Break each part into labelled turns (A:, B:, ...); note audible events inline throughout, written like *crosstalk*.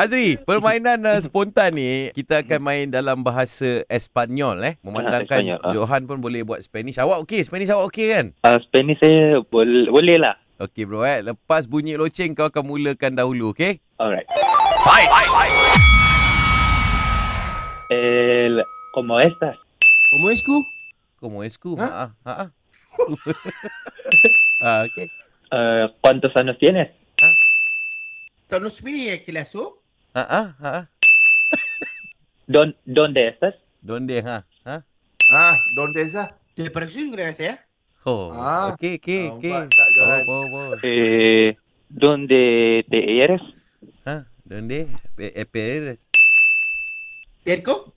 A: Azri, permainan uh, spontan ni kita akan main dalam bahasa Espanyol eh. Memandangkan
B: Espanyol, ah.
A: Johan pun boleh buat Spanish. Awak okey, Spanish awak okey kan?
B: Uh, Spanish saya boleh, boleh lah.
A: Okey bro eh. Lepas bunyi loceng kau akan mulakan dahulu, okey?
B: Alright. El, como estas.
C: ¿Cómo es Q?
A: Kau mau esku? Ha
C: Ha?
A: ha. Ha. *laughs* Ah, okey.
B: Uh, ¿Cuántos años tienes?
C: ¿Tonos mini que la so?
A: Ha ha ha. ha.
B: Don, ¿Dónde estás?
A: Donde ha. Ha.
C: Ah, ¿dónde esa? ¿Te pareció un gran sea?
A: Oh.
C: Ah,
A: Okey, okey,
C: nampak
A: okey.
C: tak, Johan?
A: Oh, oh, oh.
B: Eh, ¿Dónde te eres?
A: Ha. Donde? Pe- eh, Peres.
C: ¿Perco?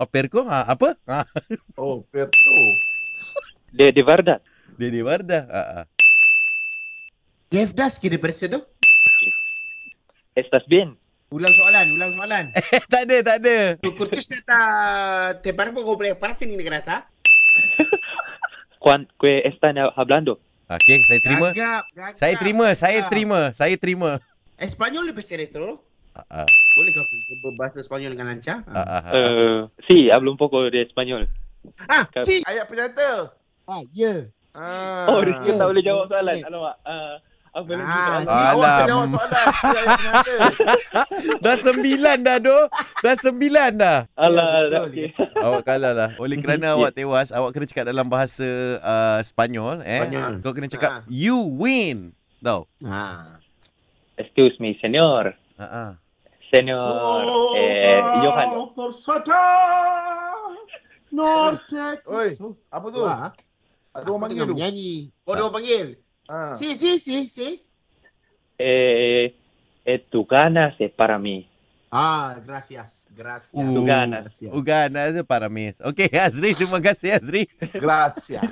A: Oh, perko? Ha, apa? Ha. *laughs*
C: Oh, perco.
B: De, de verdad.
A: Dede Wardah. Ha. ha.
C: Devdas que te pareció tu?
B: ¿Estás bien?
C: Ulang soalan, ulang soalan.
A: Eh, tak ada, tak ada.
C: Tu cursus ta te parpo como prepararse ni grata?
B: ¿Cuán, ¿Qué están hablando?
A: Okey, saya terima.
C: Gagap, gagap.
A: Saya terima, saya
C: Ah.
A: terima, saya terima.
C: Espanyol lebih serius tu.
A: Ha. ha,
C: Boleh kau cuba bahasa Espanyol dengan lancar?
A: ha, ha, ha.
B: Eh, sí, hablo un poco de español.
C: Ah,
B: Kat-
C: si. Ayat penyata. Ah, ya. Ah.
B: Oh, dia tak boleh jawab soalan.
C: Okey.
B: Alamak. Uh, apa lagi?
C: Ah, si
A: Alam.
C: awak tak jawab soalan. Si ayat
B: *laughs*
C: penyata.
B: Eh,
A: Dah sembilan dah doh. Dah sembilan dah.
B: Alah,
C: Ya, betul.
B: tak okey.
A: awak kalah lah. Oleh kerana awak tewas, awak kena cakap dalam bahasa uh, Spanyol eh.
C: Spanyol.
A: Kau kena cakap
C: Ha.
A: you win. Tau.
C: Ah.
B: Excuse me, señor.
A: Ha ah.
B: Señor
C: Oh,
B: eh, Johan.
C: Por Satan. Norte.
D: Oi, Apa tu?
C: Wah,
D: Ada
C: aku
D: orang panggil
C: tengah
D: tu.
C: menyanyi. Oh, dia orang panggil.
D: Ha.
C: Si, si, si, si.
B: Eh, eh, tu ganas es para mí.
C: Ah, gracias. Gracias.
A: Tu Oh,
B: ganas.
A: Uhuh.
C: Gracias.
A: Ugana je para mes. Okey Azri, terima kasih Azri.
D: Gracias.